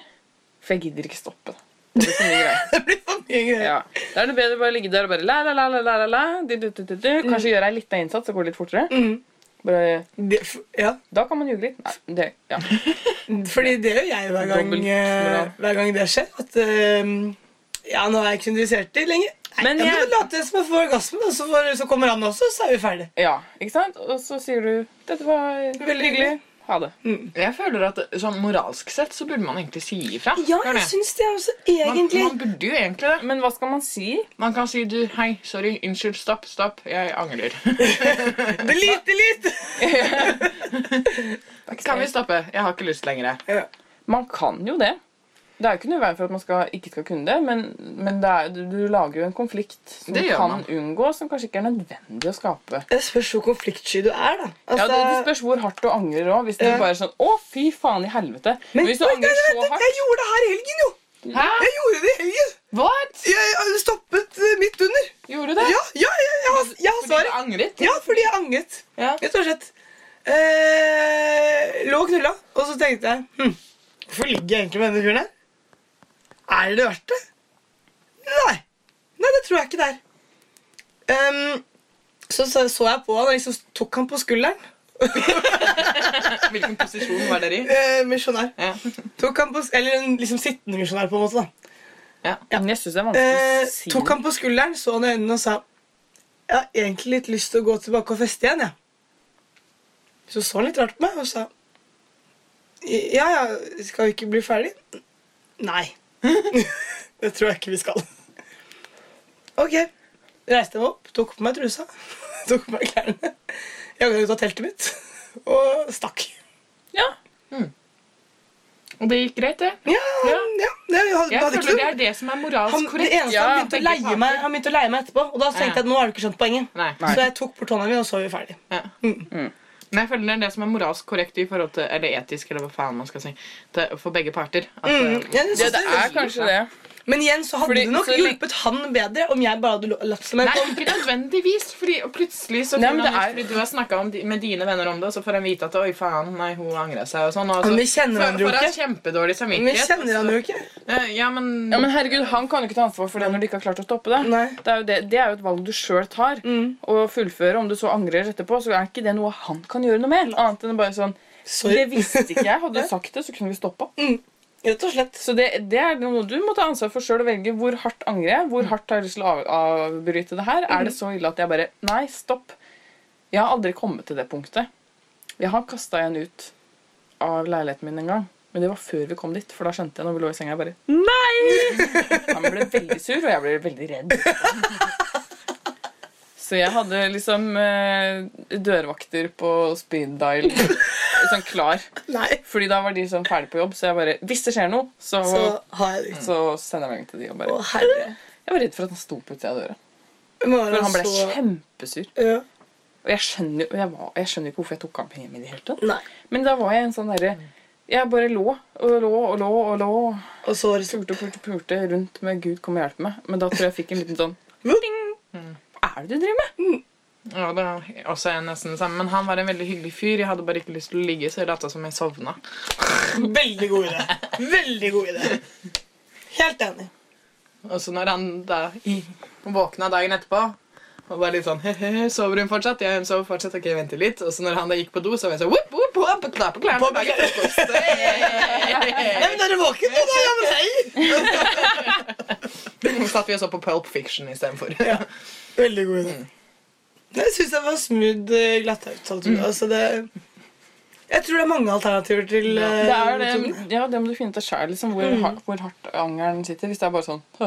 [SPEAKER 4] For jeg gidder ikke stoppe det. Det blir for mye greier.
[SPEAKER 2] Det blir for mye greier.
[SPEAKER 4] Ja. Da er det bedre bare å ligge der og bare la, la, la, la, la, la, la. Du, du, du, du, du.
[SPEAKER 3] Mm.
[SPEAKER 4] Kanskje gjøre en liten innsats og gå litt fortere.
[SPEAKER 2] Mm.
[SPEAKER 4] Bare,
[SPEAKER 2] Det, f- ja.
[SPEAKER 4] da kan man ljuge litt. Nei, det, ja.
[SPEAKER 2] Fordi det gjør jeg hver gang,
[SPEAKER 4] Dobbelt
[SPEAKER 2] eh,
[SPEAKER 4] moral.
[SPEAKER 2] hver gang det skjer. At eh, Ja, nå er jeg ikke interessert i lenger. Nei,
[SPEAKER 4] Men
[SPEAKER 2] men jeg...
[SPEAKER 4] jeg-
[SPEAKER 2] må late som jeg får orgasme, da, så, får, så kommer han også, så er vi ferdig.
[SPEAKER 4] ja, ikke sant? Og så sier du 'Dette var veldig hyggelig. Ha det'.
[SPEAKER 3] Jeg føler at sånn moralsk sett så burde man egentlig si ifra.
[SPEAKER 2] Ja, jeg
[SPEAKER 3] Gjør det.
[SPEAKER 2] syns det er også
[SPEAKER 3] man,
[SPEAKER 2] egentlig
[SPEAKER 3] man burde jo egentlig det.
[SPEAKER 4] Men hva skal man si?
[SPEAKER 3] Man kan si du, hei, sorry, unnskyld, stopp, stopp, jeg angrer.
[SPEAKER 2] Delete, delete!
[SPEAKER 3] Kan vi stoppe? Jeg har ikke lyst lenger.
[SPEAKER 4] Man kan jo det. Det er jo ikke noe i veien for at man skal, ikke skal kunne det, men, men det er, du, du lager jo en konflikt som
[SPEAKER 3] Det gjør
[SPEAKER 4] kan
[SPEAKER 3] man.
[SPEAKER 4] unngå, som kanskje ikke er nødvendig å skape.
[SPEAKER 2] Det spørs hvor konfliktsky du er, da.
[SPEAKER 4] Ja,
[SPEAKER 2] Altså,
[SPEAKER 4] det, det spørs hvor hardt du angrer òg. Hvis du
[SPEAKER 2] Ja.
[SPEAKER 4] bare er sånn Å, fy faen i helvete. Men, hvis du
[SPEAKER 2] Oi, nei,
[SPEAKER 4] angrer
[SPEAKER 2] nei,
[SPEAKER 4] så
[SPEAKER 2] nei,
[SPEAKER 4] hardt
[SPEAKER 2] Jeg gjorde det her i helgen, jo!
[SPEAKER 3] Hæ?
[SPEAKER 2] Jeg gjorde det i helgen!
[SPEAKER 3] What?
[SPEAKER 2] Jeg, jeg stoppet eh, midt under.
[SPEAKER 3] Gjorde du det?
[SPEAKER 2] Ja, ja, ja, jeg har- jeg har
[SPEAKER 3] Fordi du
[SPEAKER 2] svaret.
[SPEAKER 3] angret?
[SPEAKER 2] Ja, fordi jeg angret.
[SPEAKER 3] Ja.
[SPEAKER 2] Rett og slett. Eh, lå og knulla, og så tenkte jeg hm, Hvorfor ligger jeg egentlig med denne fyren her? Er det verdt det? Nei, nei. Nei, det tror jeg ikke det er. Ehm, så, så så jeg på han og liksom tok han på skulderen.
[SPEAKER 3] Hvilken posisjon var dere i?
[SPEAKER 2] Eh, misjonær.
[SPEAKER 3] Ja.
[SPEAKER 2] Tok han på, eller en liksom sittende misjonær, på en måte. da.
[SPEAKER 4] Men jeg syns det er vanskelig
[SPEAKER 2] Eh,
[SPEAKER 4] å si.
[SPEAKER 2] tok han på skulderen, så han i øynene og sa Jeg har egentlig litt lyst til å gå tilbake og feste igjen, jeg. Så så han litt rart på meg og sa Ja, ja, skal vi ikke bli ferdig? Nei. det tror jeg ikke vi skal. Ok. Reiste jeg meg opp, tok på meg trusa, tok på meg klærne, jaga ut av teltet mitt og stakk.
[SPEAKER 4] Ja. Og det gikk greit, det.
[SPEAKER 2] Ja, ja.
[SPEAKER 4] Ja.
[SPEAKER 2] det hadde,
[SPEAKER 4] Jeg
[SPEAKER 2] hadde
[SPEAKER 4] føler
[SPEAKER 2] ikke
[SPEAKER 4] det
[SPEAKER 2] noe
[SPEAKER 4] er det som er moralsk
[SPEAKER 2] han, det
[SPEAKER 4] korrekt.
[SPEAKER 2] eneste
[SPEAKER 4] Ja,
[SPEAKER 2] han, begynte å
[SPEAKER 3] begge
[SPEAKER 2] leie meg, han begynte å leie meg etterpå. Og da tenkte
[SPEAKER 3] Ja.
[SPEAKER 2] jeg at nå har du ikke skjønt poenget.
[SPEAKER 3] Nei.
[SPEAKER 2] Så jeg tok bort hånda mi, og så var vi ferdig.
[SPEAKER 3] Ja. Mm. Men jeg føler det er det som er moralsk korrekt i forhold til, eller etisk, eller hva faen man skal si, til, for begge parter. At,
[SPEAKER 2] Mm,
[SPEAKER 3] eh,
[SPEAKER 2] ja, det
[SPEAKER 4] Ja,
[SPEAKER 2] synes
[SPEAKER 4] det
[SPEAKER 2] jeg.
[SPEAKER 4] er kanskje det.
[SPEAKER 2] Men igjen så hadde
[SPEAKER 4] Fordi-
[SPEAKER 2] det nok
[SPEAKER 4] så lenge-
[SPEAKER 2] hjulpet han bedre om jeg bare hadde lo- latt som jeg
[SPEAKER 3] Nei,
[SPEAKER 2] kom.
[SPEAKER 3] ikke nødvendigvis. Fordi og plutselig så
[SPEAKER 4] Nei,
[SPEAKER 3] finner
[SPEAKER 4] men
[SPEAKER 3] han
[SPEAKER 4] det
[SPEAKER 3] ut fordi du har snakka med dine venner om det, og så får han vite at 'oi, faen, nei, hun angrer seg', og sånn. Og
[SPEAKER 4] altså,
[SPEAKER 2] Men
[SPEAKER 3] så
[SPEAKER 2] vi kjenner
[SPEAKER 3] får-
[SPEAKER 2] hverandre jo
[SPEAKER 3] får han
[SPEAKER 2] ikke.
[SPEAKER 3] kjempedårlig
[SPEAKER 2] Men
[SPEAKER 3] samvittighet.
[SPEAKER 2] jeg kjenner han jo ikke.
[SPEAKER 3] Eh, Ja, men,
[SPEAKER 4] Ja, men herregud, Han kan jo ikke ta ansvar for det når de ikke har klart å stoppe det.
[SPEAKER 2] Nei.
[SPEAKER 4] Det er jo, det, det er jo et valg du sjøl tar.
[SPEAKER 2] Mm.
[SPEAKER 4] Å fullføre, om du så angrer etterpå, så er ikke det noe han kan gjøre noe med. Annet enn bare sånn Det
[SPEAKER 2] Sorry.
[SPEAKER 4] visste ikke jeg. Hadde du sagt det, så kunne vi stoppa.
[SPEAKER 2] Rett og slett.
[SPEAKER 4] Så det, det er noe du må ta ansvar for sjøl og velge hvor hardt angrer jeg. Hvor hardt har jeg lyst til å av- avbryte det her? Er det så ille at jeg bare Nei, stopp. Jeg har aldri kommet til det punktet. Jeg har kasta en ut av leiligheten min en gang. Men det var før vi kom dit, for da skjønte jeg når vi lå i senga, jeg bare Nei! Han ble veldig sur, og jeg ble veldig redd. Så jeg hadde liksom eh, dørvakter på speed dial. Sånn klar.
[SPEAKER 2] Nei.
[SPEAKER 4] Fordi da var de sånn ferdig på jobb, så jeg bare Hvis det skjer noe, så,
[SPEAKER 2] Så
[SPEAKER 4] så,
[SPEAKER 2] har jeg det.
[SPEAKER 4] sender jeg melding til de og
[SPEAKER 2] Å,
[SPEAKER 4] bare
[SPEAKER 2] herre.
[SPEAKER 4] Jeg var redd for at han sto på utsida av døra.
[SPEAKER 2] Det må være
[SPEAKER 4] For han ble
[SPEAKER 2] så-
[SPEAKER 4] kjempesur.
[SPEAKER 2] Ja.
[SPEAKER 4] Og jeg skjønner, jo- jeg, var, jeg skjønner ikke hvorfor jeg tok av meg hjemme i det hele tatt.
[SPEAKER 2] Nei.
[SPEAKER 4] Men da var jeg en sånn derre Jeg bare lå og lå og lå og lå.
[SPEAKER 2] Og så var det så
[SPEAKER 4] Pulte og pulte og pulte rundt med 'Gud, kom og hjelp meg'. Men da tror jeg jeg fikk en liten sånn
[SPEAKER 2] Ding!
[SPEAKER 4] Hva er det du driver med?
[SPEAKER 3] ja, det er også er nesten det samme. Men han var en veldig hyggelig fyr. Jeg hadde bare ikke lyst til å ligge, så jeg lata som jeg sovna.
[SPEAKER 2] Veldig god idé. Veldig god idé. Helt enig.
[SPEAKER 3] Og så når han da i- våkna dagen etterpå og var litt sånn he-he, sover hun fortsatt? Ja, hun sover fortsatt. Ok, jeg venter litt. Og så når han da gikk på do, så var jeg sånn whoop, whoop, whoop, klapp, klapp,
[SPEAKER 2] På-
[SPEAKER 3] lager frokost. Hey!
[SPEAKER 2] Nei, men er du våken nå, da? Ja, men hei!
[SPEAKER 3] Så satt vi og så på Pulp Fiction istedenfor.
[SPEAKER 2] Veldig god idé. Jeg syns jeg var smooth eh, glatt ut. alt mulig. Altså, det... Jeg tror det er mange alternativer til
[SPEAKER 3] Ja.
[SPEAKER 2] eh, Mm.
[SPEAKER 4] Det er det,
[SPEAKER 2] metoden.
[SPEAKER 4] ja, det må du finne ut av sjæl, liksom. Hvor, har- hvor hardt angeren sitter. Hvis det er bare sånn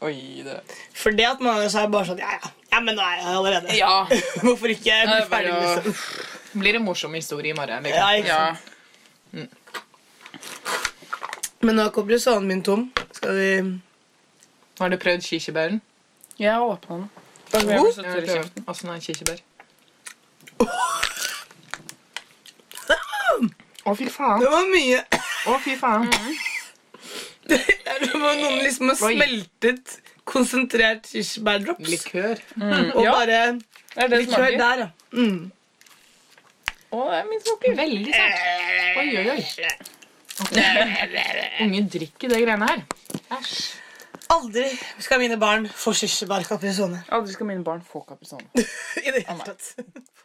[SPEAKER 4] Oi, det
[SPEAKER 2] For det at mange så er bare sånn Ja, ja, ja men nå er jeg allerede
[SPEAKER 4] Ja.
[SPEAKER 2] Hvorfor ikke bli
[SPEAKER 3] det er bare
[SPEAKER 2] ferdig
[SPEAKER 3] å-
[SPEAKER 2] liksom?
[SPEAKER 3] Blir det morsom historie i morgen? Liksom.
[SPEAKER 2] Ja, ikke
[SPEAKER 4] ja.
[SPEAKER 2] sant? Men nå er koblisanen min tom. Skal vi
[SPEAKER 3] Har du prøvd kirsebæren?
[SPEAKER 4] Jeg åpna den.
[SPEAKER 2] Da
[SPEAKER 4] Jeg ble
[SPEAKER 2] går
[SPEAKER 4] så
[SPEAKER 3] Jeg
[SPEAKER 4] tørr
[SPEAKER 3] har
[SPEAKER 4] i
[SPEAKER 3] prøvd.
[SPEAKER 4] kjeften.
[SPEAKER 3] Åssen er kirsebær? Å, fy faen.
[SPEAKER 2] Det var mye
[SPEAKER 3] Å, fy faen.
[SPEAKER 2] Det var noen liksom har
[SPEAKER 3] Oi.
[SPEAKER 2] smeltet konsentrert kirsebærdrops.
[SPEAKER 3] Likør.
[SPEAKER 2] Og
[SPEAKER 4] Ja.
[SPEAKER 2] bare
[SPEAKER 4] Det er det som
[SPEAKER 2] likør
[SPEAKER 4] smaker.
[SPEAKER 2] der, ja. Mm.
[SPEAKER 4] Å, det er min smaker.
[SPEAKER 3] Veldig sært. Oi, oi, oi. Unge drikker det greiene her. Æsj.
[SPEAKER 2] Aldri skal mine barn få kirsebærkaprisone.
[SPEAKER 4] Aldri skal mine barn få kaprisone.
[SPEAKER 2] I det hele tatt.